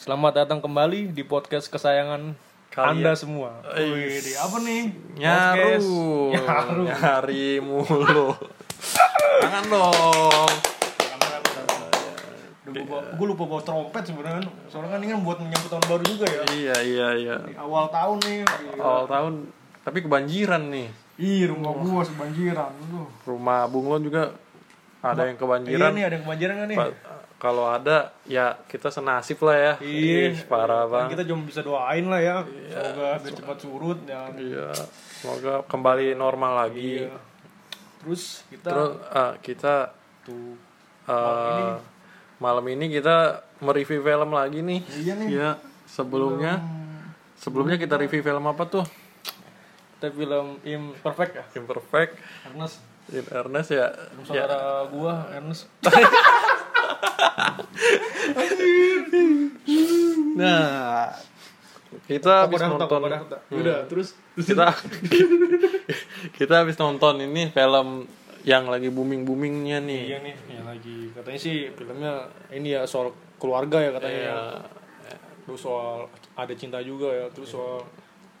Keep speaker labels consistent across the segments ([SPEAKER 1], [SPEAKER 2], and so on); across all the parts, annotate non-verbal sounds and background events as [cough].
[SPEAKER 1] Selamat datang kembali di podcast kesayangan
[SPEAKER 2] Kalian.
[SPEAKER 1] Anda semua. Wih, di- apa nih?
[SPEAKER 2] Nyaru. Ya.
[SPEAKER 1] Podcast. [laughs] Nyaru.
[SPEAKER 2] Nyari mulu. Jangan dong.
[SPEAKER 1] Gue lupa bawa trompet sebenarnya. Soalnya kan ini kan buat menyambut tahun baru juga ya.
[SPEAKER 2] Iya, iya, iya.
[SPEAKER 1] Di awal tahun nih. di-
[SPEAKER 2] Awal tahun tapi kebanjiran nih.
[SPEAKER 1] Ih, rumah gua sebanjiran. Aduh.
[SPEAKER 2] Rumah Bung Lon juga ada
[SPEAKER 1] Iya
[SPEAKER 2] yang kebanjiran.
[SPEAKER 1] nih, ada yang kebanjiran gak nih?
[SPEAKER 2] Pa- Kalau ada ya kita senasib lah ya.
[SPEAKER 1] Iya.
[SPEAKER 2] Ih,
[SPEAKER 1] Kan
[SPEAKER 2] parah banget.
[SPEAKER 1] Kita cuma bisa doain lah ya. Semoga biar cepat surut ya.
[SPEAKER 2] Iya. Semoga kembali normal lagi.
[SPEAKER 1] Iya. Terus kita
[SPEAKER 2] Terus eh, kita
[SPEAKER 1] tuh.
[SPEAKER 2] eh, malam ini kita mereview film lagi nih.
[SPEAKER 1] Iya nih.
[SPEAKER 2] Iya, sebelumnya sebelumnya kita review film apa tuh?
[SPEAKER 1] Kita film imperfect ya.
[SPEAKER 2] Imperfect,
[SPEAKER 1] Ernest,
[SPEAKER 2] In Earnest ya.
[SPEAKER 1] Film
[SPEAKER 2] ya.
[SPEAKER 1] saudara gua Ernest.
[SPEAKER 2] Nah, kita habis
[SPEAKER 1] Kokodak,
[SPEAKER 2] nonton Hmm.
[SPEAKER 1] kokodak, tak. Udah, terus
[SPEAKER 2] kita [laughs] kita habis nonton ini film yang lagi booming boomingnya nih.
[SPEAKER 1] Iya nih, ya lagi katanya sih filmnya ini ya soal keluarga ya katanya.
[SPEAKER 2] Iya.
[SPEAKER 1] Terus soal ada cinta juga ya,
[SPEAKER 2] Iya.
[SPEAKER 1] terus soal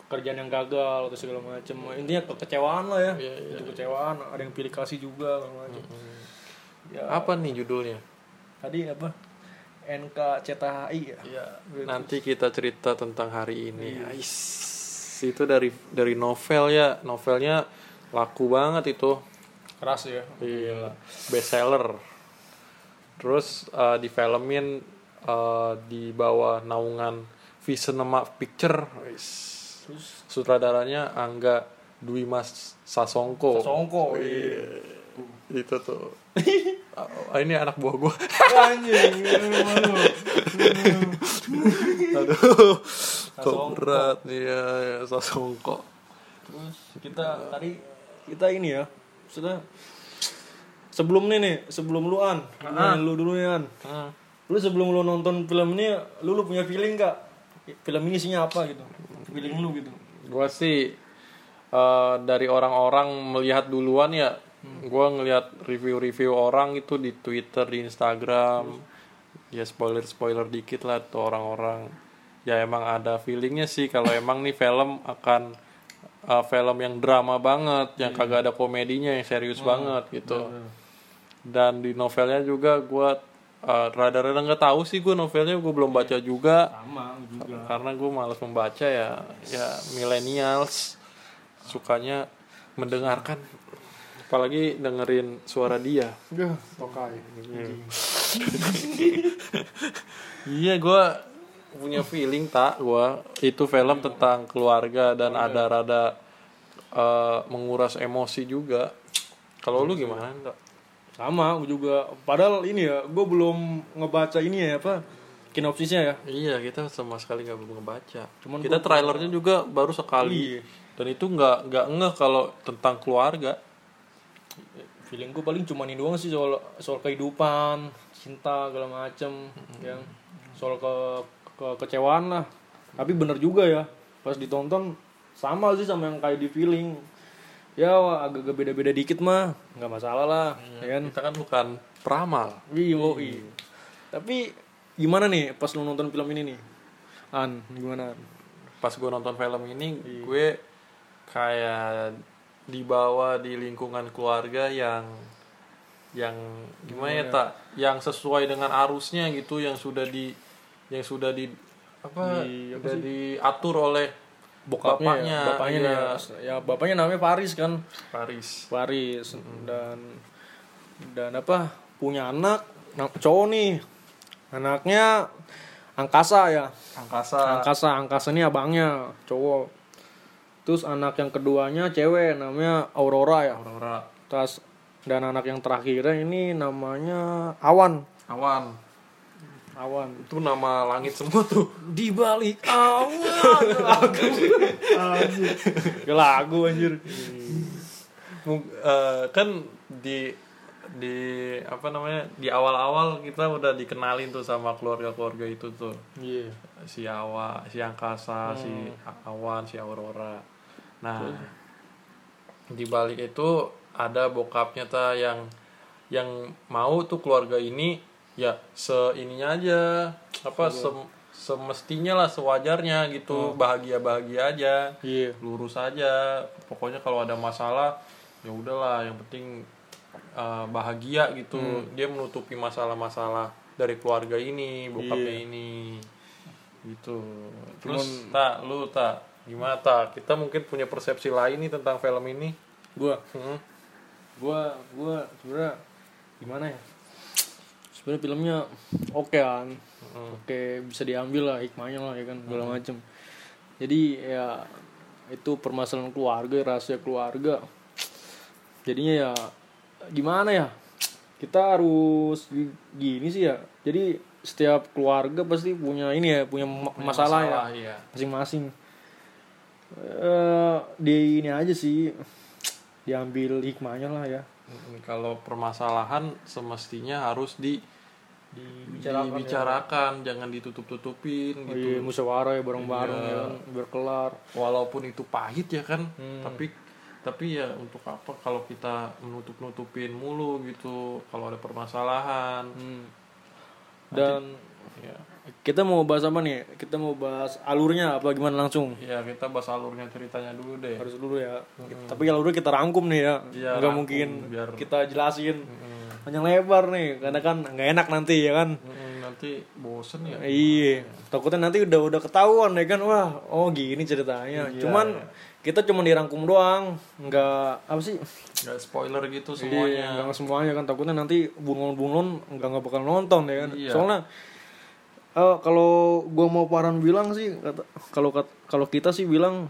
[SPEAKER 1] kerjaan yang gagal atau segala macem Intinya kekecewaan lah ya.
[SPEAKER 2] Iya, iya, Hmm.
[SPEAKER 1] Itu kecewaan, ada yang pilih kasih juga segala macem Ya,
[SPEAKER 2] Apa nih judulnya?
[SPEAKER 1] tadi apa? NKCTHI ya.
[SPEAKER 2] Nanti kita cerita tentang hari ini.
[SPEAKER 1] Iya.
[SPEAKER 2] Ais. Itu dari dari novel ya. Novelnya laku banget itu.
[SPEAKER 1] Keras ya.
[SPEAKER 2] Iya. Best seller. Terus eh, di filmin eh, di bawah naungan Visinema Picture. Ais.
[SPEAKER 1] Terus [laughs]
[SPEAKER 2] Sutradaranya Angga Dwi Mas Sasongko.
[SPEAKER 1] Songko. Iya.
[SPEAKER 2] Itu tuh. [laughs] Ah, ini anak buah
[SPEAKER 1] [laughs]
[SPEAKER 2] gua.
[SPEAKER 1] Anjing. aduh.
[SPEAKER 2] Aduh.
[SPEAKER 1] Sasongko.
[SPEAKER 2] Kok berat iya, ya, Sasongko.
[SPEAKER 1] Terus kita tadi kita ini ya, sudah sebelum nih nih, sebelum lu an, Nah, lu dulu ya an. Lu sebelum lu nonton film ini, lu, lu punya feeling gak? Film ini isinya apa gitu? Feeling lu gitu.
[SPEAKER 2] Gua sih eh, dari orang-orang melihat duluan ya gua ngelihat review-review orang itu di Twitter di Instagram ya spoiler-spoiler dikit lah tuh orang-orang ya emang ada feelingnya sih kalau emang nih film akan eh, film yang drama banget yang kagak ada komedinya yang serius banget gitu dan di novelnya juga gua eh, rada-rada nggak tahu sih gua novelnya gua belum baca juga
[SPEAKER 1] Sama juga.
[SPEAKER 2] karena gue malas membaca ya ya millennials sukanya mendengarkan apalagi dengerin suara dia
[SPEAKER 1] Ya,
[SPEAKER 2] Hmm.
[SPEAKER 1] tokai.
[SPEAKER 2] iya gue punya feeling tak gue itu film tentang keluarga dan ada rada eh, menguras emosi juga kalau lu gimana enggak
[SPEAKER 1] Sama gua juga. Padahal ini ya, gue belum ngebaca ini ya apa? Kinopsisnya ya.
[SPEAKER 2] iya kita sama sekali nggak belum ngebaca
[SPEAKER 1] Cuman
[SPEAKER 2] kita trailernya juga baru
[SPEAKER 1] Iya.
[SPEAKER 2] sekali dan itu nggak nggak ngeh kalau tentang keluarga
[SPEAKER 1] Feeling gue paling cuman ini doang sih soal soal kehidupan, cinta segala macem, yang soal ke, ke kecewaan lah. Tapi bener juga ya, pas ditonton sama sih sama yang kayak di feeling. Ya wah, agak-agak beda-beda dikit mah, nggak masalah lah, ya kan?
[SPEAKER 2] kita kan bukan peramal
[SPEAKER 1] Iya, woi. Tapi gimana nih pas lu nonton film ini nih? An, gimana? An?
[SPEAKER 2] pas gue nonton film ini
[SPEAKER 1] Iya.
[SPEAKER 2] gue kayak dibawa di lingkungan keluarga yang yang gimana ya tak yang sesuai dengan arusnya gitu yang sudah di yang sudah di apa,
[SPEAKER 1] Di- apa
[SPEAKER 2] sudah diatur oleh
[SPEAKER 1] Bapaknya,
[SPEAKER 2] bapaknya,
[SPEAKER 1] ya? bapaknya
[SPEAKER 2] iya,
[SPEAKER 1] nih, ya bapaknya namanya Paris kan.
[SPEAKER 2] Paris
[SPEAKER 1] Paris dan dan apa punya anak anak cowok nih anaknya angkasa ya
[SPEAKER 2] angkasa
[SPEAKER 1] angkasa angkasa ini abangnya cowok terus anak yang keduanya cewek namanya Aurora ya
[SPEAKER 2] Aurora
[SPEAKER 1] terus dan anak yang terakhirnya ini namanya Awan
[SPEAKER 2] awan
[SPEAKER 1] Awan
[SPEAKER 2] itu nama langit semua tuh
[SPEAKER 1] di balik awan lagu anjir lagu anjir
[SPEAKER 2] Mung- eh, kan di di apa namanya di awal-awal kita udah dikenalin tuh sama keluarga-keluarga itu tuh
[SPEAKER 1] iya
[SPEAKER 2] si Awa, si Angkasa, si A- Awan, si Aurora. Nah, di balik itu ada bokapnya ta yang yang mau tuh keluarga ini ya seininya aja apa se, semestinya lah sewajarnya gitu bahagia bahagia aja
[SPEAKER 1] Iya.
[SPEAKER 2] lurus aja pokoknya kalau ada masalah ya udahlah yang penting uh, bahagia gitu
[SPEAKER 1] Hmm.
[SPEAKER 2] dia menutupi masalah-masalah dari keluarga ini bokapnya
[SPEAKER 1] Iya.
[SPEAKER 2] ini gitu terus tak lu tak gimana tak kita mungkin punya persepsi lain nih tentang film ini
[SPEAKER 1] Gua
[SPEAKER 2] Hmm.
[SPEAKER 1] gua gua sebenarnya gimana ya sebenarnya filmnya oke kan
[SPEAKER 2] Hmm.
[SPEAKER 1] oke bisa diambil lah hikmahnya lah ya kan segala macem jadi ya itu permasalahan keluarga rahasia keluarga jadinya ya gimana ya kita harus gi- gini sih ya jadi setiap keluarga pasti punya ini ya punya, ma- masalah, ya
[SPEAKER 2] iya
[SPEAKER 1] masing-masing eh di ini aja sih diambil hikmahnya lah ya
[SPEAKER 2] Hmm, kalau permasalahan semestinya harus di
[SPEAKER 1] dibicarakan ya?
[SPEAKER 2] dibicarakan, jangan ditutup-tutupin
[SPEAKER 1] Oh
[SPEAKER 2] gitu Iya.
[SPEAKER 1] iya, musyawarah ya bareng-bareng ya kan, biar kelar.
[SPEAKER 2] walaupun itu pahit ya kan
[SPEAKER 1] Hmm.
[SPEAKER 2] tapi tapi ya untuk apa kalau kita menutup nutupin mulu gitu kalau ada permasalahan
[SPEAKER 1] Hmm. Dan
[SPEAKER 2] ya
[SPEAKER 1] kita mau bahas apa nih? Kita mau bahas alurnya apa gimana langsung?
[SPEAKER 2] ya kita bahas alurnya ceritanya dulu deh
[SPEAKER 1] Harus dulu ya. Tapi kalau dulu kita rangkum nih ya.
[SPEAKER 2] Hmm. Iya,
[SPEAKER 1] nggak
[SPEAKER 2] rangkum,
[SPEAKER 1] mungkin
[SPEAKER 2] biar-
[SPEAKER 1] kita jelasin
[SPEAKER 2] Mm,
[SPEAKER 1] panjang lebar nih karena kan nggak enak nanti ya kan.
[SPEAKER 2] mm, nanti bosen ya
[SPEAKER 1] Iya, takutnya nanti udah udah ketahuan ya kan. Wah, oh gini ceritanya.
[SPEAKER 2] Iya.
[SPEAKER 1] Cuman kita cuma dirangkum doang, nggak apa sih?
[SPEAKER 2] nggak spoiler gitu
[SPEAKER 1] Iya,
[SPEAKER 2] semuanya
[SPEAKER 1] nggak semuanya kan takutnya nanti bunglon-bunglon nggak nggak bakal nonton ya kan.
[SPEAKER 2] Iya.
[SPEAKER 1] Soalnya eh, kalau gua mau paran bilang sih kata kalau kat- kalau kita sih bilang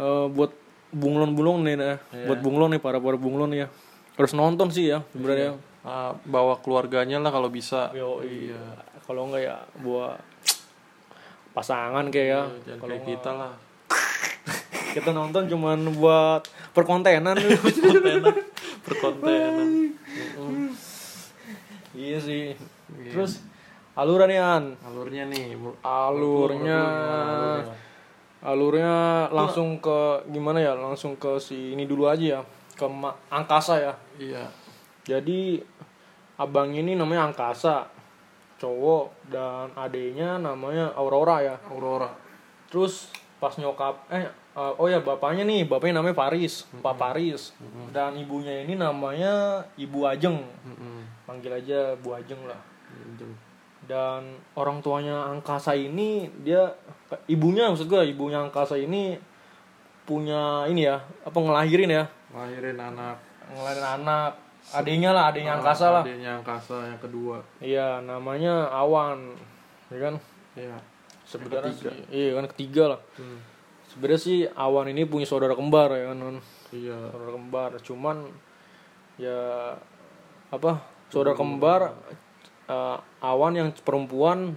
[SPEAKER 1] eh, buat bunglon-bunglon nih nah.
[SPEAKER 2] Iya.
[SPEAKER 1] buat bunglon nih para-para bunglon ya. Harus nonton sih ya sebenarnya.
[SPEAKER 2] Ah, bawa keluarganya lah kalau bisa
[SPEAKER 1] Yo, iya. Kalau enggak ya buat pasangan kayak ya.
[SPEAKER 2] Iya, jangan kayak kita lah
[SPEAKER 1] Kita nonton cuman buat
[SPEAKER 2] [laughs]
[SPEAKER 1] perkontenan.
[SPEAKER 2] kontenan perkontenan
[SPEAKER 1] iya sih. Terus alurannya An.
[SPEAKER 2] alurnya nih mul-
[SPEAKER 1] alurnya
[SPEAKER 2] alurnya.
[SPEAKER 1] alurnya langsung ke gimana ya langsung ke si ini dulu aja ya ke ma- angkasa ya
[SPEAKER 2] iya
[SPEAKER 1] jadi abang ini namanya angkasa cowok dan adiknya namanya aurora ya
[SPEAKER 2] Aurora
[SPEAKER 1] terus pas nyokap eh eh, oh ya bapaknya nih bapaknya namanya Paris
[SPEAKER 2] Mm-hmm.
[SPEAKER 1] Pak Paris dan ibunya ini namanya Ibu Ajeng
[SPEAKER 2] Mm-mm.
[SPEAKER 1] panggil aja Bu Ajeng lah
[SPEAKER 2] Jeng.
[SPEAKER 1] dan orang tuanya angkasa ini dia ibunya maksud gue ibunya angkasa ini punya ini ya apa ngelahirin ya
[SPEAKER 2] lahirin anak
[SPEAKER 1] ngelahirin anak adiknya lah adiknya angkasa lah
[SPEAKER 2] Adiknya angkasa yang kedua.
[SPEAKER 1] iya namanya awan ya kan
[SPEAKER 2] Iya.
[SPEAKER 1] sebenarnya sih iya kan ketiga lah sebenarnya sih awan ini punya saudara kembar ya kan Non?
[SPEAKER 2] Iya.
[SPEAKER 1] saudara kembar cuman ya apa saudara kembar eh, awan yang perempuan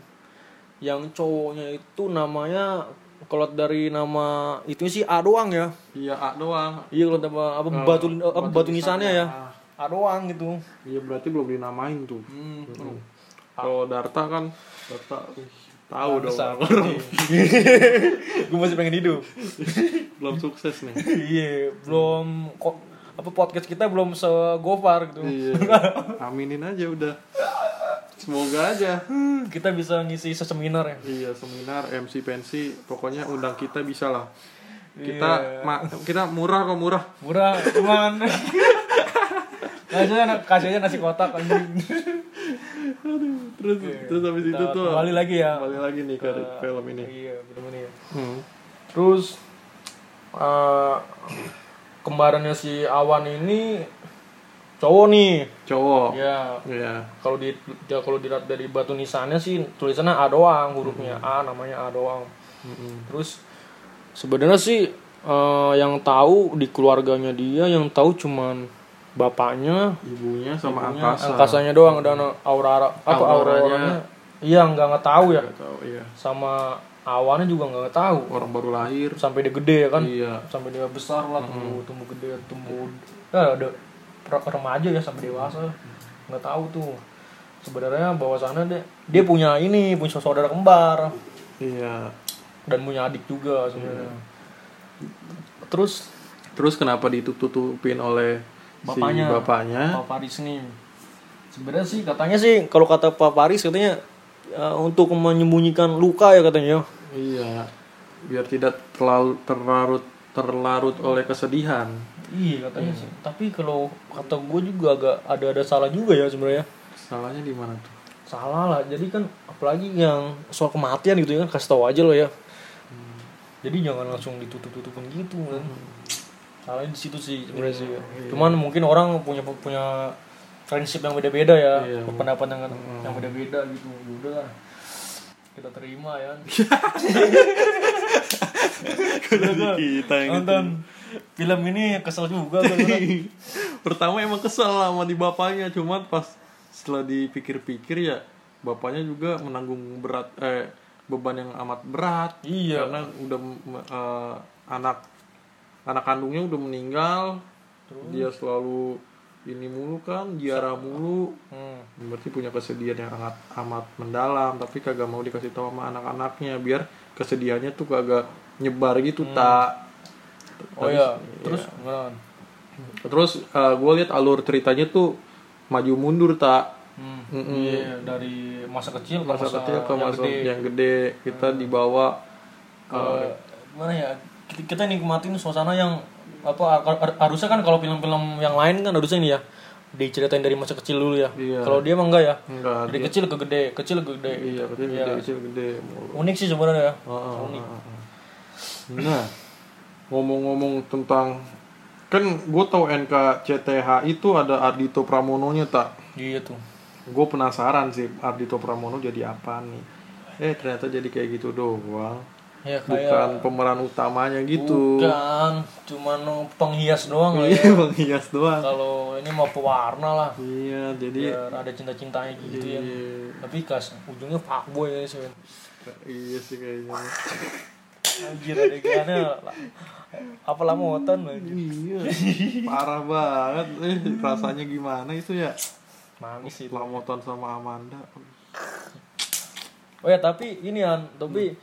[SPEAKER 1] yang cowoknya itu namanya kalau dari nama itu sih A doang ya
[SPEAKER 2] Iya A doang.
[SPEAKER 1] iya kalau nama apa batu apa, batu nisannya ya
[SPEAKER 2] Ah.
[SPEAKER 1] A doang gitu
[SPEAKER 2] Iya berarti belum dinamain tuh. Hmm. Kalau Darta kan Darta ih, tahu dong.
[SPEAKER 1] [laughs] gue masih pengen hidup
[SPEAKER 2] belum sukses nih.
[SPEAKER 1] [laughs] iya belum kok apa podcast kita belum segopar gitu
[SPEAKER 2] iya. Aminin aja udah. Semoga aja.
[SPEAKER 1] kita bisa ngisi seseminar ya
[SPEAKER 2] Iya seminar MC pensi pokoknya undang kita bisa lah.
[SPEAKER 1] Iya.
[SPEAKER 2] Kita ma- kita murah kok murah.
[SPEAKER 1] murah cuman Nah, aja kasih aja nasi kotak anjing
[SPEAKER 2] Terus terus habis itu tuh
[SPEAKER 1] kembali lagi ya
[SPEAKER 2] kembali lagi nih ke film ini.
[SPEAKER 1] iya bener-bener ya
[SPEAKER 2] Hmm.
[SPEAKER 1] terus eh kembarannya si Awan ini cowok nih
[SPEAKER 2] Cowok.
[SPEAKER 1] ya
[SPEAKER 2] Iya.
[SPEAKER 1] kalau di ya, kalau dilihat dari batu nisannya sih tulisannya A doang hurufnya A
[SPEAKER 2] Hmm.
[SPEAKER 1] namanya A doang terus sebenarnya sih eh, yang tahu di keluarganya dia yang tahu cuman bapaknya
[SPEAKER 2] Ibunya sama angkasa.
[SPEAKER 1] angkasanya doang dan aurora apa
[SPEAKER 2] Auroranya.
[SPEAKER 1] auroranya iya nggak nggak tahu ya
[SPEAKER 2] Nggak tahu iya.
[SPEAKER 1] sama awannya juga nggak tahu
[SPEAKER 2] Orang baru lahir.
[SPEAKER 1] sampai dia gede ya kan
[SPEAKER 2] Iya.
[SPEAKER 1] sampai dia besar lah tumbuh tumbuh gede tumbuh ya ada per- remaja ya sampai dewasa nggak tahu tuh sebenarnya bahwasannya dia dia punya ini punya saudara kembar
[SPEAKER 2] Iya.
[SPEAKER 1] dan punya adik juga sebenarnya terus
[SPEAKER 2] Terus kenapa ditutup-tutupin oleh
[SPEAKER 1] Bapaknya. Oh.
[SPEAKER 2] si bapaknya?
[SPEAKER 1] Pak Paris nih sebenarnya sih katanya sih kalau kata Pak Paris katanya ya, untuk menyembunyikan luka ya katanya.
[SPEAKER 2] Iya. Biar tidak terlalu terlarut terlarut oleh kesedihan.
[SPEAKER 1] Iya katanya sih. Tapi kalau kata gue juga agak ada ada salah juga ya sebenarnya.
[SPEAKER 2] Salahnya di mana tuh?
[SPEAKER 1] Salah lah. Jadi kan apalagi yang soal kematian gitu ya kan kasih tahu aja lo ya. Jadi jangan langsung ditutup-tutupin gitu kan. Salahnya di situ sih sebenarnya Iya sih. Cuman mungkin orang punya punya prinsip yang beda-beda ya,
[SPEAKER 2] Iya,
[SPEAKER 1] pendapat yang yang beda-beda gitu. Ya udah lah. Kita terima [laughs] ya.
[SPEAKER 2] kita
[SPEAKER 1] gitu. Ah, Nonton film ini kesel juga kan. [laughs] gue. karena-
[SPEAKER 2] Pertama emang kesel sama di bapaknya, cuman pas setelah dipikir-pikir ya bapaknya juga menanggung berat eh beban yang amat berat
[SPEAKER 1] Iya.
[SPEAKER 2] karena udah m- eh, anak anak kandungnya udah meninggal. Dia selalu ini mulu kan, diarah mulu.
[SPEAKER 1] Hmm.
[SPEAKER 2] Berarti punya kesedihan yang amat, amat mendalam, tapi kagak mau dikasih tahu sama anak-anaknya biar kesedihannya tuh kagak nyebar gitu, tak.
[SPEAKER 1] Oh iya, terus gimana?
[SPEAKER 2] Terus gue lihat alur ceritanya tuh maju mundur tak
[SPEAKER 1] Hmm.
[SPEAKER 2] Mm-mm.
[SPEAKER 1] Iya, dari masa kecil ke
[SPEAKER 2] masa
[SPEAKER 1] masa,
[SPEAKER 2] kecil ke
[SPEAKER 1] yang
[SPEAKER 2] masa
[SPEAKER 1] gede. Hmm.
[SPEAKER 2] yang gede kita dibawa
[SPEAKER 1] Ke
[SPEAKER 2] Iya.
[SPEAKER 1] mana ya? Kita, kita nikmatin suasana yang apa har- har- harusnya kan kalau film-film yang lain kan harusnya ini ya diceritain dari masa kecil dulu ya.
[SPEAKER 2] Iya.
[SPEAKER 1] Kalau dia mah enggak ya.
[SPEAKER 2] enggak
[SPEAKER 1] Dari kecil ke gede, kecil ke gede.
[SPEAKER 2] iya kecil gede kecil gede mulu.
[SPEAKER 1] Unik sih sebenarnya ya.
[SPEAKER 2] Heeh, heeh, heeh. Nah ngomong-ngomong tentang kan gue tau NKCTH itu ada Ardito Pramononya tak
[SPEAKER 1] Iya tuh.
[SPEAKER 2] gue penasaran sih Ardito Pramono jadi apa nih eh ternyata jadi kayak gitu doang
[SPEAKER 1] Ya kayak
[SPEAKER 2] bukan pemeran utamanya gitu
[SPEAKER 1] bukan cuman penghias doang lah ya.
[SPEAKER 2] [laughs] iya bang Hias doang
[SPEAKER 1] Kalau ini mau pewarna lah.
[SPEAKER 2] iya jadi
[SPEAKER 1] Biar ada cinta-cintanya gitu ya.
[SPEAKER 2] Iya.
[SPEAKER 1] Tapi kas ujungnya fuckboy ya sih.
[SPEAKER 2] Iya sih kayaknya.
[SPEAKER 1] Anjir adegannya la- apa lamotan anjir.
[SPEAKER 2] Iya. [laughs] Parah banget. Eh, rasanya gimana itu ya?
[SPEAKER 1] Manis itu.
[SPEAKER 2] Lamotan sama Amanda.
[SPEAKER 1] Oh ya tapi ini An, tapi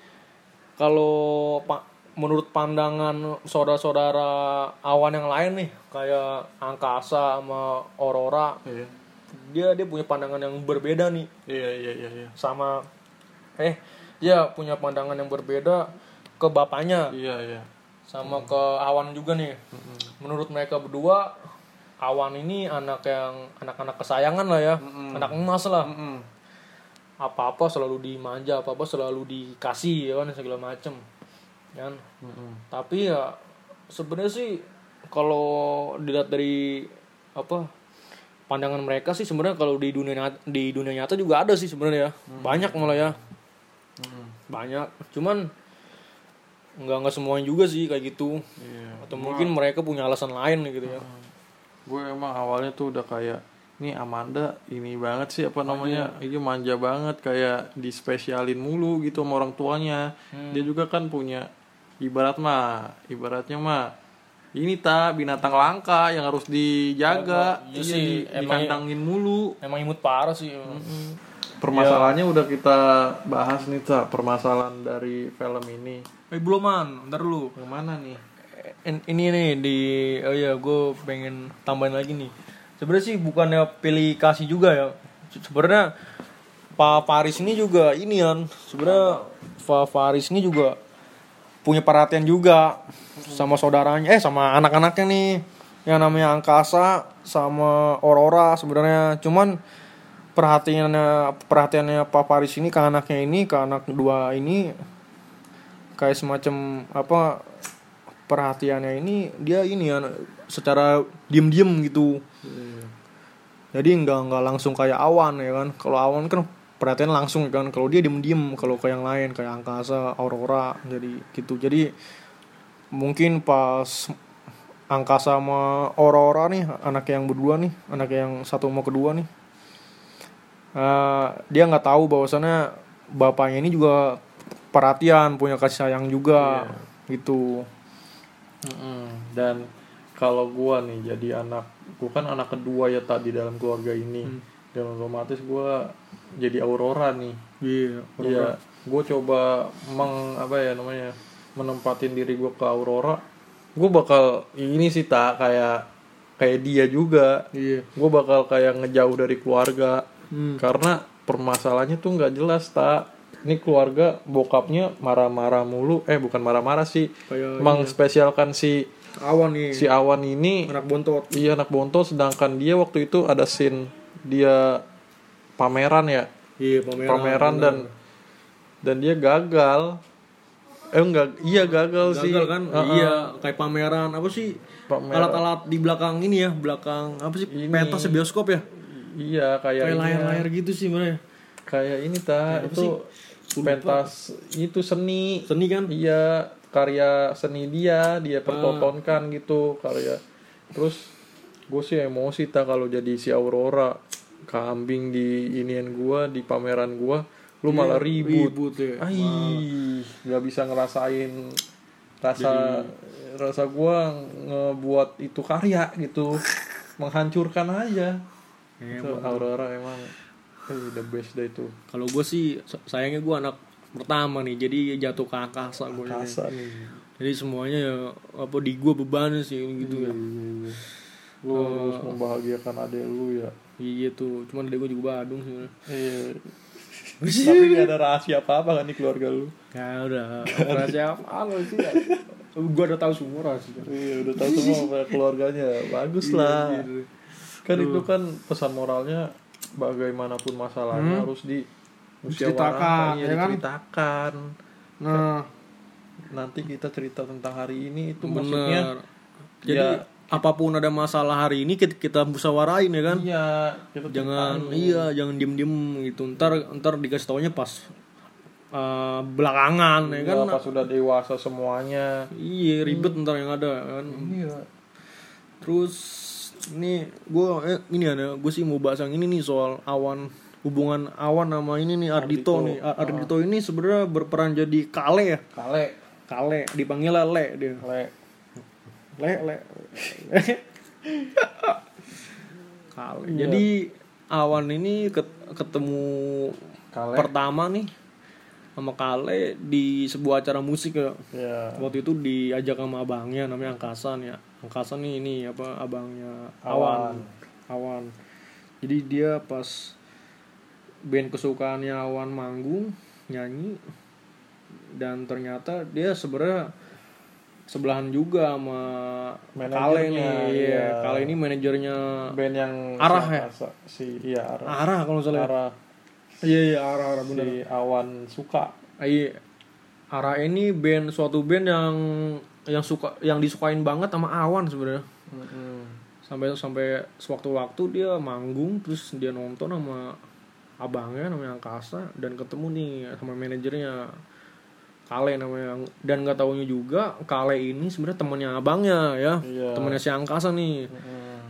[SPEAKER 1] kalau pa- menurut pandangan saudara-saudara awan yang lain nih kayak angkasa sama aurora
[SPEAKER 2] Iya.
[SPEAKER 1] dia dia punya pandangan yang berbeda nih
[SPEAKER 2] Iya iya iya iya.
[SPEAKER 1] sama eh dia punya pandangan yang berbeda ke bapaknya
[SPEAKER 2] Iya iya.
[SPEAKER 1] sama ke awan juga nih menurut mereka berdua awan ini anak yang anak-anak kesayangan lah ya anak emas lah
[SPEAKER 2] Mm-mm.
[SPEAKER 1] apa-apa selalu dimanja, apa-apa selalu dikasih ya kan segala macem kan.
[SPEAKER 2] Mm-mm.
[SPEAKER 1] Tapi ya sebenarnya sih kalau dilihat dari apa pandangan mereka sih sebenarnya kalau di dunia nyata, di dunia nyata juga ada sih sebenarnya ya. Banyak malah ya.
[SPEAKER 2] Mm-mm.
[SPEAKER 1] Banyak. Cuman nggak nggak semuanya juga sih kayak gitu.
[SPEAKER 2] Iya.
[SPEAKER 1] Atau mungkin mereka punya alasan lain gitu ya.
[SPEAKER 2] Gue emang awalnya tuh udah kayak nih Amanda ini banget sih apa namanya iya manja banget kayak dispesialin mulu gitu sama orang tuanya dia juga kan punya ibarat mah ibaratnya mah ini tak binatang langka yang harus dijaga
[SPEAKER 1] Iya
[SPEAKER 2] iya,
[SPEAKER 1] sih,
[SPEAKER 2] di-
[SPEAKER 1] emang-
[SPEAKER 2] dikandangin mulu
[SPEAKER 1] Emang imut parah sih. ya. Hmm.
[SPEAKER 2] Permasalahannya udah kita bahas nih, Ca. Permasalahan dari film ini.
[SPEAKER 1] Eh belum man, bentar dulu.
[SPEAKER 2] Yang mana nih?
[SPEAKER 1] En- Eh, ini nih di oh ya gue pengen tambahin lagi nih sebenarnya sih bukannya pilih kasih juga ya Se- sebenarnya Pak Faris ini juga ini kan sebenarnya Pak Faris ini juga punya perhatian juga sama saudaranya eh sama anak-anaknya nih yang namanya Angkasa sama Aurora sebenarnya cuman perhatiannya perhatiannya Pak Faris ini ke anaknya ini ke anak dua ini kayak semacam apa perhatiannya ini dia ini ya secara diem-diem gitu jadi nggak nggak langsung kayak awan ya kan kalau awan kan perhatian langsung ya kan kalau dia diem-diem kalau kayak yang lain kayak angkasa aurora jadi gitu jadi mungkin pas angkasa sama aurora nih anak yang berdua nih anak yang satu mau kedua nih eh, dia nggak tahu bahwasannya bapaknya ini juga perhatian punya kasih sayang juga gitu
[SPEAKER 2] Dan kalau gua nih jadi anak, gua kan anak kedua ya tak di dalam keluarga ini.
[SPEAKER 1] Hmm.
[SPEAKER 2] Dan otomatis gua jadi Aurora nih.
[SPEAKER 1] Iya,
[SPEAKER 2] Iya. Gua coba meng apa ya namanya? menempatin diri gua ke Aurora. Gua bakal ini sih tak kayak kayak dia juga.
[SPEAKER 1] iya,
[SPEAKER 2] Gua bakal kayak ngejauh dari keluarga.
[SPEAKER 1] Hmm.
[SPEAKER 2] karena permasalahannya tuh nggak jelas tak ini keluarga bokapnya marah-marah mulu eh bukan marah-marah sih
[SPEAKER 1] Kayak
[SPEAKER 2] mengspesialkan si
[SPEAKER 1] awan nih
[SPEAKER 2] si Awan ini
[SPEAKER 1] anak bontot
[SPEAKER 2] iya anak bontot sedangkan dia waktu itu ada scene dia pameran ya
[SPEAKER 1] iya pameran
[SPEAKER 2] pameran dan dan dia gagal eh enggak iya gagal, sih
[SPEAKER 1] gagal kan
[SPEAKER 2] Heeh.
[SPEAKER 1] iya kayak pameran apa sih
[SPEAKER 2] Pameran.
[SPEAKER 1] alat-alat di belakang ini ya belakang apa sih
[SPEAKER 2] Ini.
[SPEAKER 1] pentas bioskop ya
[SPEAKER 2] iya
[SPEAKER 1] kayak
[SPEAKER 2] kayak ini,
[SPEAKER 1] layar-layar gitu sih sebenarnya
[SPEAKER 2] kayak ini ta itu pentas itu seni
[SPEAKER 1] seni kan
[SPEAKER 2] iya karya seni dia dia pertontonkan gitu karya terus gue sih emosi ta kalau jadi si Aurora kambing di inian gua di pameran gua lu malah Iya, ribut
[SPEAKER 1] Iya, ribut ya
[SPEAKER 2] Aih, nggak bisa ngerasain rasa rasa gua ngebuat itu karya gitu menghancurkan aja itu Aurora Iya, emang eh, the best deh itu
[SPEAKER 1] kalau gue sih sa- sayangnya gue anak pertama nih jadi jatuh ke angkasa gue
[SPEAKER 2] kasa nih
[SPEAKER 1] jadi semuanya ya apa di gue beban sih gitu
[SPEAKER 2] Iya,
[SPEAKER 1] ya
[SPEAKER 2] Hmm. lu harus membahagiakan adek lu ya
[SPEAKER 1] iya tuh cuman dia gue juga badung sebenarnya
[SPEAKER 2] Iya. tapi gak ada rahasia apa apa kan di keluarga lu
[SPEAKER 1] ya udah rahasia
[SPEAKER 2] [laughs]
[SPEAKER 1] apaan lo sih gue udah tahu semua rahasia
[SPEAKER 2] iya udah tahu [laughs] semua keluarganya bagus lah
[SPEAKER 1] Gitu.
[SPEAKER 2] kan itu kan pesan moralnya bagaimanapun masalahnya Hmm? harus di
[SPEAKER 1] Harus
[SPEAKER 2] musyawarahkan,
[SPEAKER 1] diceritakan,
[SPEAKER 2] iya,
[SPEAKER 1] ya kan?
[SPEAKER 2] diceritakan.
[SPEAKER 1] nah
[SPEAKER 2] nanti kita cerita tentang hari ini itu maksudnya
[SPEAKER 1] bener jadi
[SPEAKER 2] ya-
[SPEAKER 1] apapun ada masalah hari ini kita, kita musawarain ya kan
[SPEAKER 2] iya kita
[SPEAKER 1] jangan
[SPEAKER 2] ceritain.
[SPEAKER 1] iya jangan diem diem gitu ntar ntar dikasih taunya pas eh, belakangan ya
[SPEAKER 2] Iya,
[SPEAKER 1] kan
[SPEAKER 2] pas sudah dewasa semuanya
[SPEAKER 1] iya ribet ntar yang ada ya kan
[SPEAKER 2] iya
[SPEAKER 1] terus ini gue eh, ini ada gue sih mau bahas yang ini nih soal awan hubungan awan sama ini nih Ardito, nih A- Ardito ini sebenarnya berperan jadi kale ya
[SPEAKER 2] kale
[SPEAKER 1] kale dipanggil le dia
[SPEAKER 2] kale
[SPEAKER 1] le le kale jadi awan ini ket- ketemu
[SPEAKER 2] kale
[SPEAKER 1] pertama nih sama Kale di sebuah acara musik ya.
[SPEAKER 2] iya
[SPEAKER 1] Waktu itu diajak sama abangnya namanya Angkasan ya. Angkasan nih ini apa abangnya Awan. Awan. Jadi dia pas band kesukaannya Awan manggung nyanyi dan ternyata dia sebenarnya sebelahan juga sama Kale
[SPEAKER 2] Manajernya,
[SPEAKER 1] nih.
[SPEAKER 2] iya.
[SPEAKER 1] Iya, Kale ini manajernya
[SPEAKER 2] band yang
[SPEAKER 1] Arah
[SPEAKER 2] si
[SPEAKER 1] ya?
[SPEAKER 2] Angkasa- si iya arah
[SPEAKER 1] Arah kalau nggak salah. ya.
[SPEAKER 2] arah
[SPEAKER 1] Iya iya Arah Arah bener.
[SPEAKER 2] si awan suka
[SPEAKER 1] Iya. Ara ini band suatu band yang yang suka yang disukain banget sama Awan sebenarnya. Sampai sampai sewaktu-waktu dia manggung terus dia nonton sama abangnya namanya Angkasa dan ketemu nih sama manajernya Kale namanya dan nggak taunya juga Kale ini sebenarnya temannya abangnya ya.
[SPEAKER 2] Iya.
[SPEAKER 1] Temannya si Angkasa nih.
[SPEAKER 2] Mm-mm.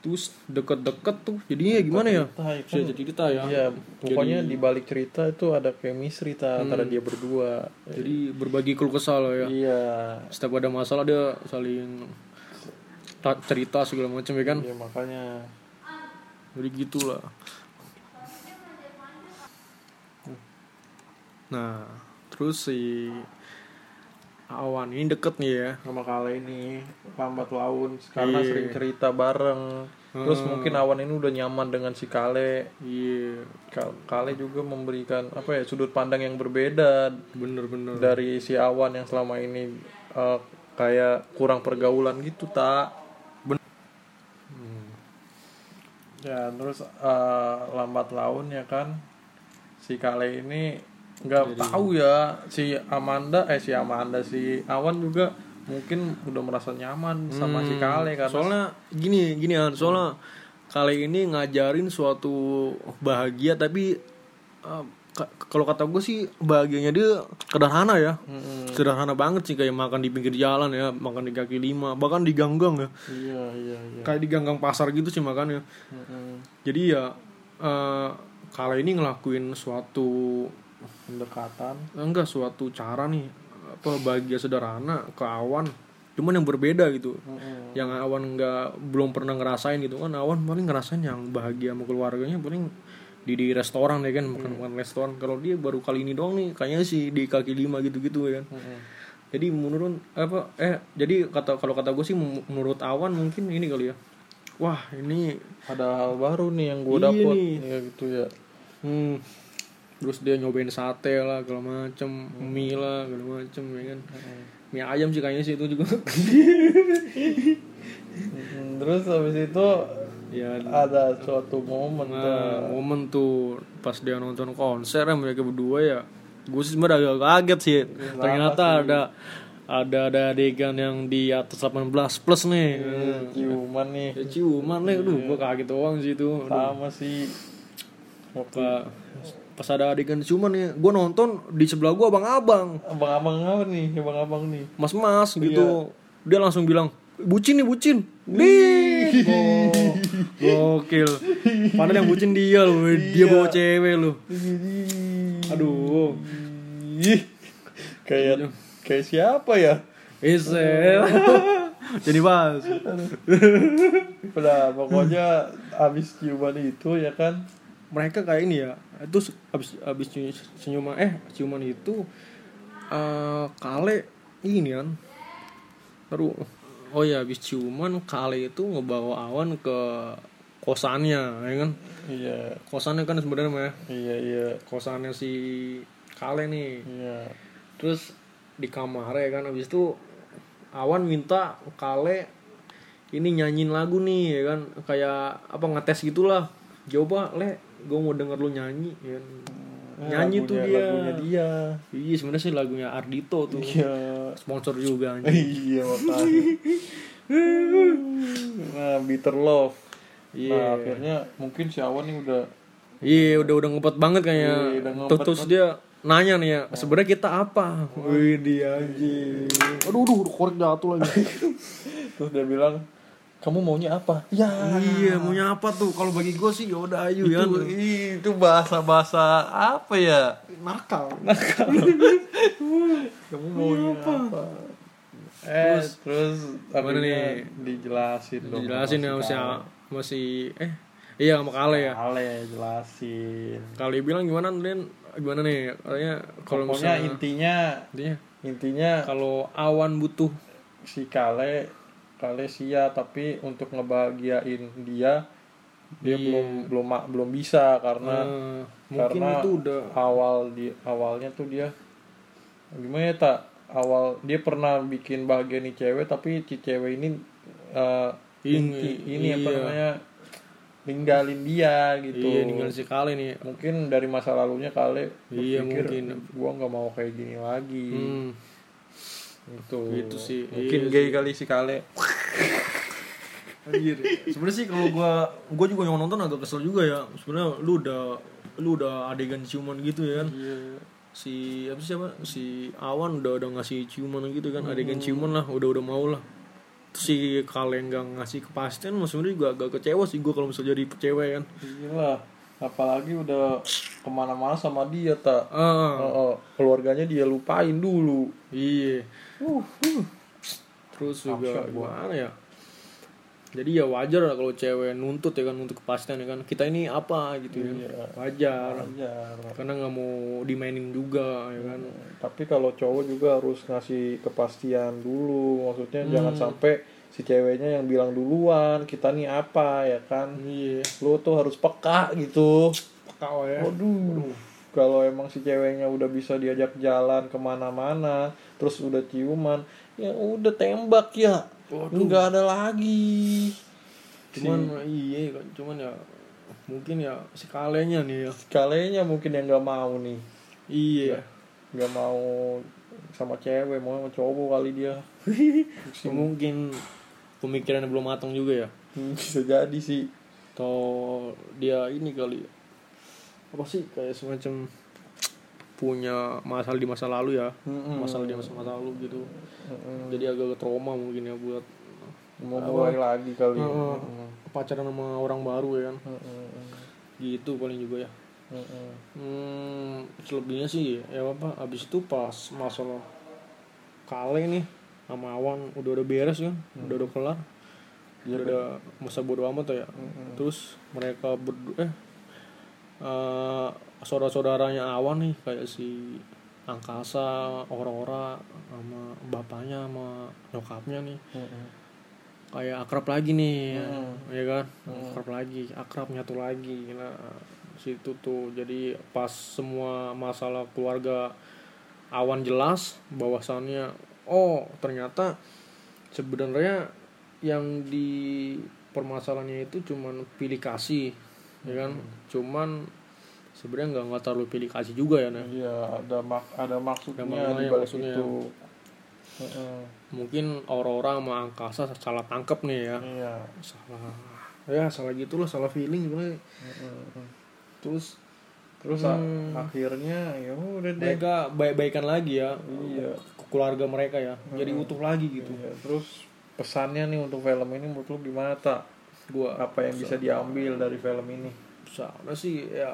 [SPEAKER 1] Terus deket-deket tuh jadinya gimana ya?
[SPEAKER 2] Entah, itu
[SPEAKER 1] Bisa cerita ya.
[SPEAKER 2] Iya, pokoknya di balik cerita itu ada chemistry ta, antara dia berdua.
[SPEAKER 1] Jadi berbagi keluh kesah lah ya.
[SPEAKER 2] Iya.
[SPEAKER 1] setiap ada masalah dia saling ta- cerita segala macam ya kan
[SPEAKER 2] Iya makanya
[SPEAKER 1] jadi gitulah nah terus si awan ini deket nih ya
[SPEAKER 2] sama kala ini lambat laun
[SPEAKER 1] Iya.
[SPEAKER 2] karena
[SPEAKER 1] Mm.
[SPEAKER 2] sering cerita bareng. Terus mungkin Awan ini udah nyaman dengan si Kale.
[SPEAKER 1] iya
[SPEAKER 2] Ka- Kale juga memberikan apa ya sudut pandang yang berbeda
[SPEAKER 1] bener-bener
[SPEAKER 2] dari si Awan yang selama ini eh, kayak kurang pergaulan gitu tak Hmm. ya terus eh, lambat laun ya kan si Kale ini nggak tahu ya si Amanda eh si Amanda si Awan juga mungkin udah merasa nyaman sama si Kale karena
[SPEAKER 1] Hmm, soalnya gini gini An, soalnya kali ini ngajarin suatu bahagia tapi eh, ka- kalau kata gue sih bahagianya dia sederhana ya
[SPEAKER 2] Hmm,
[SPEAKER 1] sederhana banget sih kayak makan di pinggir jalan ya makan di kaki lima bahkan di ganggang ya
[SPEAKER 2] iya iya iya Hmm,
[SPEAKER 1] kayak di ganggang pasar gitu sih makannya
[SPEAKER 2] Mm-mm.
[SPEAKER 1] jadi ya eh kali ini ngelakuin suatu eh,
[SPEAKER 2] pendekatan
[SPEAKER 1] enggak suatu cara nih apa bahagia sederhana ke awan cuman yang berbeda gitu
[SPEAKER 2] Mm-mm.
[SPEAKER 1] yang awan nggak belum pernah ngerasain gitu kan awan paling ngerasain yang bahagia sama keluarganya paling di di restoran ya kan makan makan restoran kalau dia baru kali ini doang nih kayaknya sih di kaki lima gitu gitu ya kan
[SPEAKER 2] Mm-mm.
[SPEAKER 1] jadi menurut apa eh jadi kata kalau kata gue sih mu- menurut awan mungkin ini kali ya wah ini
[SPEAKER 2] ada hal baru nih yang gue
[SPEAKER 1] Iya
[SPEAKER 2] dapet
[SPEAKER 1] nih.
[SPEAKER 2] ya gitu ya
[SPEAKER 1] hmm. terus dia nyobain sate lah segala macem
[SPEAKER 2] Hmm.
[SPEAKER 1] mie lah segala macem ya kan mie ayam sih kayaknya sih itu
[SPEAKER 2] [laughs]
[SPEAKER 1] juga
[SPEAKER 2] Terus habis itu
[SPEAKER 1] ya
[SPEAKER 2] ada suatu momen
[SPEAKER 1] nah, momen tuh pas dia nonton konser ya mereka berdua ya gue sih sebenarnya agak kaget
[SPEAKER 2] Iya,
[SPEAKER 1] sih ternyata ada ada ada adegan yang di atas 18 plus nih
[SPEAKER 2] tuh, ciuman nih
[SPEAKER 1] ya ciuman nih aduh gue kaget doang sih itu Aduh.
[SPEAKER 2] Iya. sama si waktu
[SPEAKER 1] Pak, pas ada adegan ciuman ya gue nonton di sebelah gue abang-abang
[SPEAKER 2] abang-abang apa nih abang-abang nih
[SPEAKER 1] mas-mas gitu dia langsung bilang bucin nih bucin Wih, go- gokil padahal yang bucin dia loh dia bawa cewek loh aduh
[SPEAKER 2] Ih, kayak kayak siapa ya
[SPEAKER 1] Isel jadi mas
[SPEAKER 2] Udah, pokoknya habis ciuman itu ya kan
[SPEAKER 1] mereka kayak ini ya itu abis abis cium- ciuman eh ciuman itu eh kale ini kan baru oh ya abis ciuman kale itu ngebawa awan ke kosannya ya kan
[SPEAKER 2] iya
[SPEAKER 1] kosannya kan sebenarnya mah ya.
[SPEAKER 2] iya iya
[SPEAKER 1] kosannya si kale nih
[SPEAKER 2] iya
[SPEAKER 1] terus di kamarnya kan abis itu awan minta kale ini nyanyiin lagu nih ya kan kayak apa ngetes gitulah coba le gue mau denger lu nyanyi ya kan. nyanyi
[SPEAKER 2] Lagunya-
[SPEAKER 1] tuh dia
[SPEAKER 2] lagunya dia
[SPEAKER 1] iya sebenarnya sih lagunya Ardito tuh
[SPEAKER 2] iya
[SPEAKER 1] sponsor juga anjing.
[SPEAKER 2] iya makanya
[SPEAKER 1] [laughs]
[SPEAKER 2] nah bitter love
[SPEAKER 1] Iya.
[SPEAKER 2] nah akhirnya mungkin si awan nih udah
[SPEAKER 1] iya udah udah ngepet banget kayaknya
[SPEAKER 2] Iya, udah Nah. ngempet
[SPEAKER 1] terus terus dia nanya nih ya sebenarnya kita apa wih dia aduh aduh korek jatuh lagi
[SPEAKER 2] terus dia bilang kamu maunya apa ya
[SPEAKER 1] iya maunya apa tuh kalau bagi gue sih yaudah ayu ya
[SPEAKER 2] itu, itu bahasa bahasa apa ya
[SPEAKER 1] nakal
[SPEAKER 2] kamu maunya apa, Eh, terus, terus
[SPEAKER 1] Gimana
[SPEAKER 2] akhirnya
[SPEAKER 1] nih?
[SPEAKER 2] dijelasin dong
[SPEAKER 1] jelasin ya
[SPEAKER 2] sama si
[SPEAKER 1] masih
[SPEAKER 2] Kak.
[SPEAKER 1] masih eh iya sama Kale ya
[SPEAKER 2] Ale jelasin.
[SPEAKER 1] Kale bilang gimana Andrin gimana nih katanya kalau
[SPEAKER 2] Pokoknya
[SPEAKER 1] misalnya
[SPEAKER 2] intinya
[SPEAKER 1] intinya
[SPEAKER 2] intinya
[SPEAKER 1] kalau awan butuh
[SPEAKER 2] si Kale Kale sia tapi untuk ngebahagiain dia
[SPEAKER 1] Iya.
[SPEAKER 2] dia belum belum ma- belum bisa karena
[SPEAKER 1] eh, mungkin
[SPEAKER 2] karena
[SPEAKER 1] itu udah
[SPEAKER 2] awal di awalnya tuh dia gimana ya tak awal dia pernah bikin bahagia nih cewek tapi si cewek ini eh,
[SPEAKER 1] Ini,
[SPEAKER 2] ini
[SPEAKER 1] iya.
[SPEAKER 2] apa namanya ninggalin dia gitu
[SPEAKER 1] iya ninggalin si Kale nih
[SPEAKER 2] mungkin dari masa lalunya kali
[SPEAKER 1] Iya,
[SPEAKER 2] berpikir
[SPEAKER 1] mungkin.
[SPEAKER 2] gua nggak mau kayak gini lagi
[SPEAKER 1] hmm.
[SPEAKER 2] gitu
[SPEAKER 1] Gitu sih, iya
[SPEAKER 2] mungkin gay kali si kale
[SPEAKER 1] Anjir. Iya, Sebenarnya sih kalau gua gua juga yang nonton agak kesel juga ya. Sebenarnya lu udah lu udah adegan ciuman gitu ya kan. Si apa sih siapa? Si Awan udah udah ngasih ciuman gitu kan, adegan
[SPEAKER 2] Oh.
[SPEAKER 1] ciuman lah, udah udah mau lah. Terus si Kale nggak ngasih kepastian, maksudnya juga agak kecewa sih gua kalau misalnya jadi cewek kan.
[SPEAKER 2] gila apalagi udah kemana-mana sama dia tak
[SPEAKER 1] Ah,
[SPEAKER 2] Oh, oh, keluarganya dia lupain dulu
[SPEAKER 1] iya.
[SPEAKER 2] uh, uh.
[SPEAKER 1] Terus juga gimana ya? Jadi ya wajar lah kalau cewek nuntut ya kan nuntut kepastian ya kan. Kita ini apa gitu ya.
[SPEAKER 2] Iya.
[SPEAKER 1] Wajar.
[SPEAKER 2] Wajar.
[SPEAKER 1] karena nggak mau dimainin juga ya kan
[SPEAKER 2] tapi kalau cowok juga harus ngasih kepastian dulu maksudnya jangan sampai si ceweknya yang bilang duluan kita nih apa ya kan
[SPEAKER 1] iya
[SPEAKER 2] lu tuh harus peka gitu
[SPEAKER 1] kau ya
[SPEAKER 2] Waduh. Kalau emang si ceweknya udah bisa diajak jalan kemana-mana, terus udah ciuman, ya udah tembak ya. Nggak ada lagi.
[SPEAKER 1] cuman iya kan cuman ya mungkin ya sekalanya nih ya
[SPEAKER 2] Kalenya mungkin yang nggak mau nih,
[SPEAKER 1] iya
[SPEAKER 2] nggak mau sama cewek, mau sama cowok kali dia.
[SPEAKER 1] [laughs] mungkin pemikirannya belum matang juga ya
[SPEAKER 2] Hmm, Bisa jadi sih.
[SPEAKER 1] atau dia ini kali ya. apa sih kayak semacam punya masalah di masa lalu ya
[SPEAKER 2] Mm-mm.
[SPEAKER 1] masalah di masa masa lalu gitu
[SPEAKER 2] Mm-mm.
[SPEAKER 1] jadi ah, agak trauma mungkin ya buat
[SPEAKER 2] Hmm. Mau mulai lagi kali. ya.
[SPEAKER 1] Heeh.
[SPEAKER 2] Mm-mm.
[SPEAKER 1] pacaran sama orang baru ya kan
[SPEAKER 2] Mm-mm.
[SPEAKER 1] gitu paling juga ya
[SPEAKER 2] Mm-mm.
[SPEAKER 1] Hmm, selebihnya sih ya apa abis itu pas masalah kale nih sama awan udah udah beres kan udah udah kelar udah udah masa bodo amat ya
[SPEAKER 2] Hmm,
[SPEAKER 1] terus mereka berdua eh saudara saudaranya awan nih kayak si angkasa ora-ora sama bapaknya sama nyokapnya nih
[SPEAKER 2] Mm-mm.
[SPEAKER 1] kayak akrab lagi nih
[SPEAKER 2] Hmm.
[SPEAKER 1] ya kan akrab lagi akrab nyatu lagi nah situ tuh jadi pas semua masalah keluarga awan jelas bahwasannya oh ternyata sebenarnya yang di permasalahannya itu cuman pilih kasih ya
[SPEAKER 2] Hmm.
[SPEAKER 1] kan cuman sebenarnya nggak nggak terlalu pilih kasih juga ya nah
[SPEAKER 2] Iya, ada mak ada maksudnya
[SPEAKER 1] Ada maknanya,
[SPEAKER 2] di balik
[SPEAKER 1] maksudnya. ya.
[SPEAKER 2] itu. Hmm. Heeh,
[SPEAKER 1] mungkin aurora sama angkasa salah tangkep nih ya
[SPEAKER 2] Iya.
[SPEAKER 1] salah ya salah gitulah salah feeling sebenarnya
[SPEAKER 2] Heeh.
[SPEAKER 1] terus
[SPEAKER 2] Hmm. Terus a-
[SPEAKER 1] Hmm.
[SPEAKER 2] akhirnya ya udah deh.
[SPEAKER 1] mereka baik-baikan lagi ya
[SPEAKER 2] Iya.
[SPEAKER 1] ke keluarga mereka ya jadi utuh lagi gitu
[SPEAKER 2] Iya, Terus pesannya nih untuk film ini menurut lu gimana tak?
[SPEAKER 1] gua
[SPEAKER 2] Apa yang bisa diambil dari film ini?
[SPEAKER 1] sana sih ya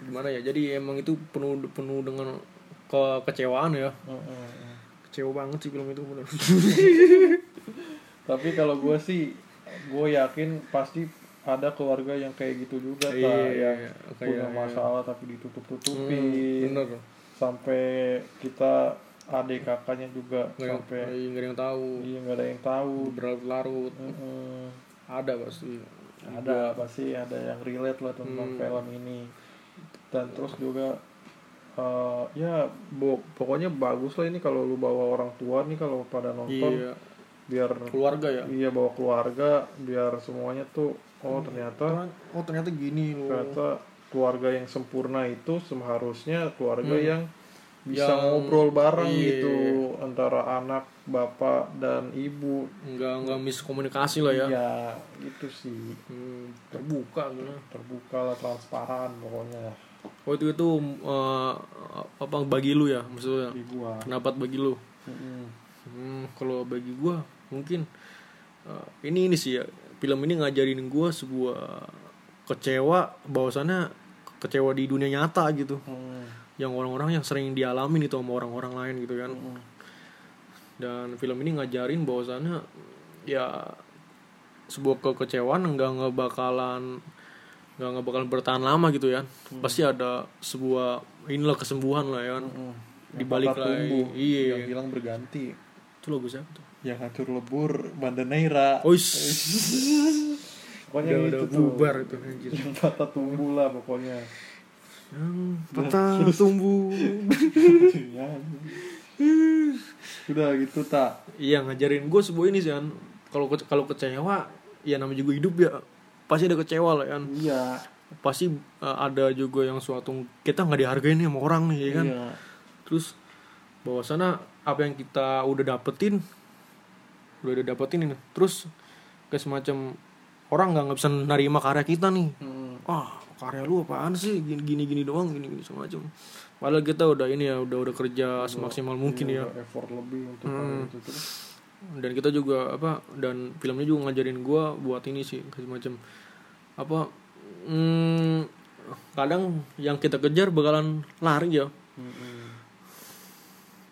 [SPEAKER 1] gimana ya jadi emang itu penuh penuh dengan kekecewaan ya
[SPEAKER 2] Heeh.
[SPEAKER 1] kecewa banget sih film itu [laughs] bener
[SPEAKER 2] Tapi kalau gue sih, gue yakin pasti ada keluarga yang kayak gitu juga,
[SPEAKER 1] Iya,
[SPEAKER 2] tak?
[SPEAKER 1] iya,
[SPEAKER 2] yang
[SPEAKER 1] iya.
[SPEAKER 2] punya
[SPEAKER 1] Kayak- iya. Hmm,
[SPEAKER 2] masalah tapi ditutup-tutupin,
[SPEAKER 1] bener
[SPEAKER 2] sampai kita adik kakaknya juga
[SPEAKER 1] nggak yang
[SPEAKER 2] sampai
[SPEAKER 1] nggak ada yang tahu
[SPEAKER 2] iya nggak ada yang tahu.
[SPEAKER 1] berlarut-larut
[SPEAKER 2] Heeh.
[SPEAKER 1] ada pasti Iya.
[SPEAKER 2] ada pasti ada yang relate lah tentang
[SPEAKER 1] Hmm.
[SPEAKER 2] film ini dan terus juga eh, ya bo- pokoknya bagus lah ini kalau lu bawa orang tua nih kalau pada nonton
[SPEAKER 1] iya
[SPEAKER 2] biar
[SPEAKER 1] keluarga ya
[SPEAKER 2] iya bawa keluarga biar semuanya tuh oh ternyata
[SPEAKER 1] Ternyata- oh ternyata gini loh
[SPEAKER 2] ternyata keluarga yang sempurna itu seharusnya keluarga yang bisa
[SPEAKER 1] Hmm. Yang-
[SPEAKER 2] ngobrol bareng
[SPEAKER 1] iya.
[SPEAKER 2] gitu antara anak bapak dan ibu
[SPEAKER 1] nggak nggak miskomunikasi lah ya
[SPEAKER 2] iya itu sih
[SPEAKER 1] Hmm, terbuka gitu
[SPEAKER 2] terbuka lah transparan pokoknya
[SPEAKER 1] oh itu itu eh, apa bagi lu ya maksudnya
[SPEAKER 2] di gua
[SPEAKER 1] pendapat bagi lu Hmm, kalau bagi gua mungkin eh, ini ini sih ya film ini ngajarin gua sebuah kecewa bahwasannya kecewa di dunia nyata gitu
[SPEAKER 2] Hmm.
[SPEAKER 1] yang orang-orang yang sering dialami itu sama orang-orang lain gitu kan
[SPEAKER 2] Hmm.
[SPEAKER 1] dan film ini ngajarin bahwasannya ya sebuah kekecewaan nggak nggak bakalan nggak nggak bakalan bertahan lama gitu ya pasti ada sebuah inilah kesembuhan lah ya kan
[SPEAKER 2] Hmm.
[SPEAKER 1] dibalik
[SPEAKER 2] Yang patah
[SPEAKER 1] lagi.
[SPEAKER 2] tumbuh,
[SPEAKER 1] Iya.
[SPEAKER 2] yang hilang berganti
[SPEAKER 1] itu lagu siapa tuh
[SPEAKER 2] yang hancur lebur Bandaneira
[SPEAKER 1] Ois,
[SPEAKER 2] pokoknya
[SPEAKER 1] Oh, udah
[SPEAKER 2] itu
[SPEAKER 1] udah
[SPEAKER 2] tuh
[SPEAKER 1] bubar itu anjir.
[SPEAKER 2] yang tata tumbuh lah pokoknya
[SPEAKER 1] Yang patah tumbuh.
[SPEAKER 2] Ya. sudah gitu tak
[SPEAKER 1] Iya ngajarin gue sebuah ini sih kan. Kalau ke- kalau kecewa, ya namanya juga hidup ya pasti ada kecewa lah kan.
[SPEAKER 2] iya
[SPEAKER 1] Pasti uh, ada juga yang suatu kita nggak dihargain nih sama orang nih ya kan.
[SPEAKER 2] iya
[SPEAKER 1] Terus bahwasana apa yang kita udah dapetin udah udah dapetin ini. Terus kayak semacam orang nggak nggak bisa nerima karya kita nih.
[SPEAKER 2] Hmm.
[SPEAKER 1] ah karya lu apaan sih gini gini, gini doang gini gini semacam padahal kita udah ini ya udah udah kerja
[SPEAKER 2] Iya,
[SPEAKER 1] semaksimal mungkin ya
[SPEAKER 2] Ada effort lebih untuk
[SPEAKER 1] Hmm.
[SPEAKER 2] itu terus
[SPEAKER 1] dan kita juga apa dan filmnya juga ngajarin gua buat ini sih kayak semacam apa hmm, kadang yang kita kejar bakalan lari ya
[SPEAKER 2] Hmm.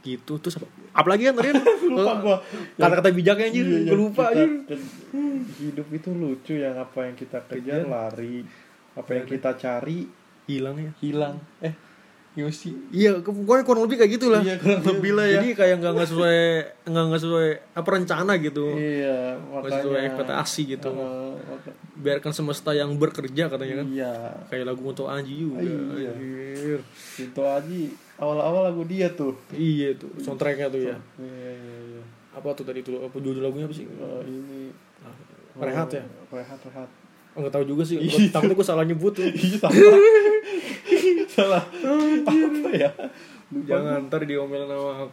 [SPEAKER 1] gitu terus apa- apalagi kan tadi kan,
[SPEAKER 2] [laughs] lupa
[SPEAKER 1] eh,
[SPEAKER 2] gua
[SPEAKER 1] kata-kata bijaknya anjir
[SPEAKER 2] Iya,
[SPEAKER 1] gua
[SPEAKER 2] yang
[SPEAKER 1] lupa
[SPEAKER 2] kita
[SPEAKER 1] anjir
[SPEAKER 2] ke- hidup itu lucu yang apa yang kita kejar lari apa yang kita cari
[SPEAKER 1] hilang ya
[SPEAKER 2] hilang eh Yosi
[SPEAKER 1] iya ke- pokoknya kurang lebih kayak gitulah
[SPEAKER 2] Iya, kurang lebih lah ya.
[SPEAKER 1] jadi kayak nggak nggak sesuai nggak nggak sesuai apa rencana gitu
[SPEAKER 2] Iya,
[SPEAKER 1] nggak
[SPEAKER 2] makanya.
[SPEAKER 1] sesuai ekspektasi gitu
[SPEAKER 2] Eh, maka-
[SPEAKER 1] biarkan semesta yang bekerja katanya kan
[SPEAKER 2] Iya.
[SPEAKER 1] kayak lagu untuk Anji juga
[SPEAKER 2] Iya.
[SPEAKER 1] anjir.
[SPEAKER 2] Cinto Aji awal-awal lagu dia tuh.
[SPEAKER 1] iya tuh soundtracknya tuh ya
[SPEAKER 2] Iya, iya, iya.
[SPEAKER 1] apa tuh tadi tuh apa judul lagunya apa sih
[SPEAKER 2] Eh, ini
[SPEAKER 1] Rehat ya?
[SPEAKER 2] Rehat, rehat.
[SPEAKER 1] Oh, nggak tahu juga sih gua, takutnya gue salah nyebut tuh
[SPEAKER 2] [laughs] Iya, salah. salah. Apa ya?
[SPEAKER 1] jangan ntar diomelin sama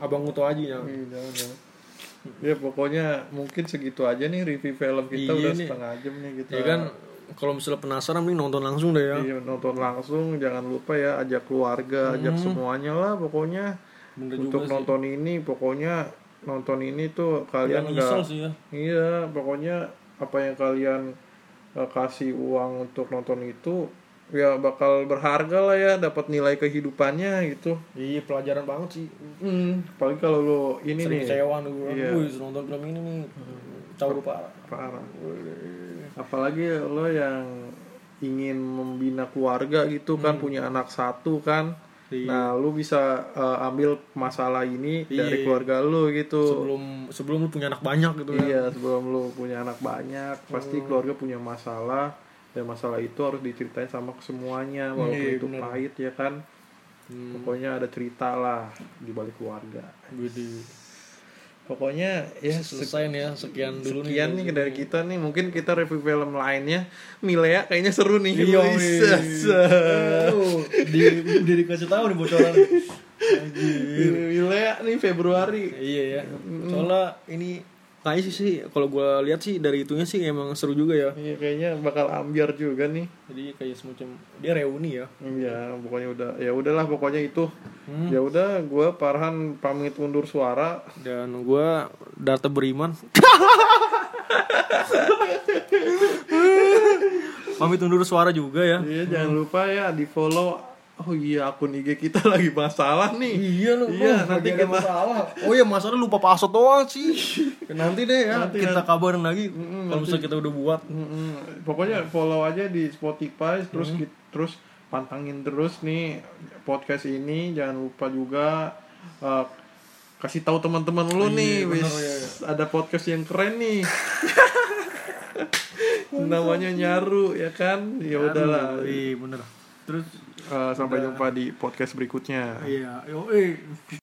[SPEAKER 1] abang Uto Aji ya
[SPEAKER 2] Iya, jangan, jangan. Ya pokoknya mungkin segitu aja nih review film kita
[SPEAKER 1] Iya
[SPEAKER 2] udah
[SPEAKER 1] nih.
[SPEAKER 2] setengah jam nih kita.
[SPEAKER 1] ya kan kalau misalnya penasaran mending nonton langsung deh ya
[SPEAKER 2] Iya, nonton langsung jangan lupa ya ajak keluarga, ajak semuanya lah pokoknya.
[SPEAKER 1] bener
[SPEAKER 2] untuk nonton ini pokoknya nonton ini tuh kalian
[SPEAKER 1] nyesel
[SPEAKER 2] nggak
[SPEAKER 1] sih ya
[SPEAKER 2] iya pokoknya apa yang kalian eh, kasih uang untuk nonton itu ya bakal berharga lah ya dapat nilai kehidupannya gitu
[SPEAKER 1] iya pelajaran banget sih
[SPEAKER 2] hmm, apalagi kalau lo ini
[SPEAKER 1] sering
[SPEAKER 2] nih
[SPEAKER 1] kecewaan gue
[SPEAKER 2] Iya.
[SPEAKER 1] Wih, nonton film ini nih tahu lupa
[SPEAKER 2] parah apalagi lo yang ingin membina keluarga gitu kan punya anak satu kan
[SPEAKER 1] Hmm. Iya.
[SPEAKER 2] nah lu bisa eh, ambil masalah ini dari
[SPEAKER 1] Iya.
[SPEAKER 2] keluarga lu gitu
[SPEAKER 1] sebelum sebelum lu punya anak banyak gitu ya Hmm.
[SPEAKER 2] Iya, sebelum lu punya anak banyak, pasti keluarga punya masalah. dan masalah itu harus diceritain sama semuanya walaupun
[SPEAKER 1] Iya,
[SPEAKER 2] itu
[SPEAKER 1] bener.
[SPEAKER 2] pahit ya kan
[SPEAKER 1] Hmm.
[SPEAKER 2] pokoknya ada cerita lah di balik keluarga
[SPEAKER 1] Widih.
[SPEAKER 2] pokoknya ya se-
[SPEAKER 1] selesai nih ya sekian dulu
[SPEAKER 2] sekian nih dari kita nih mungkin kita review film lainnya Milea kayaknya seru nih
[SPEAKER 1] Iya,
[SPEAKER 2] Wih,
[SPEAKER 1] wih.
[SPEAKER 2] se- se-
[SPEAKER 1] Aduh, di di dikasih tahu nih bocoran.
[SPEAKER 2] [laughs]
[SPEAKER 1] Anjir.
[SPEAKER 2] Milea nih Februari
[SPEAKER 1] Iya ya. Soalnya ini kayaknya sih, sih kalau gua lihat sih dari itunya sih emang seru juga ya.
[SPEAKER 2] Iya kayaknya bakal ambiar juga nih.
[SPEAKER 1] Jadi kayak semacam dia reuni ya.
[SPEAKER 2] Iya, pokoknya udah ya udahlah pokoknya itu.
[SPEAKER 1] Hmm.
[SPEAKER 2] Ya udah gua Parhan pamit undur suara.
[SPEAKER 1] Dan gua Darta Beriman. Pamit undur suara juga ya.
[SPEAKER 2] Iya, jangan lupa ya di-follow. Oh iya, akun IG kita [laughs] lagi masalah nih.
[SPEAKER 1] Iya lu.
[SPEAKER 2] Iya,
[SPEAKER 1] oh,
[SPEAKER 2] nanti
[SPEAKER 1] bagian
[SPEAKER 2] kena-
[SPEAKER 1] masalah. Oh iya, masalah lupa password doang sih. [laughs] nanti deh ya,
[SPEAKER 2] Nanti, kan.
[SPEAKER 1] kita kabarin lagi kalau misalnya kita udah buat.
[SPEAKER 2] Mm-mm.
[SPEAKER 1] Nah.
[SPEAKER 2] Pokoknya follow aja di Spotify terus ki- terus pantangin terus nih podcast ini. Jangan lupa juga eh, kasih tahu teman-teman lu nih,
[SPEAKER 1] bener,
[SPEAKER 2] wis
[SPEAKER 1] iya,
[SPEAKER 2] ada podcast yang keren
[SPEAKER 1] [laughs]
[SPEAKER 2] nih. namanya nyaru ya kan ya udahlah
[SPEAKER 1] Iya, bener. Terus
[SPEAKER 2] Eh, sampai jumpa di podcast berikutnya
[SPEAKER 1] iya, yo eh.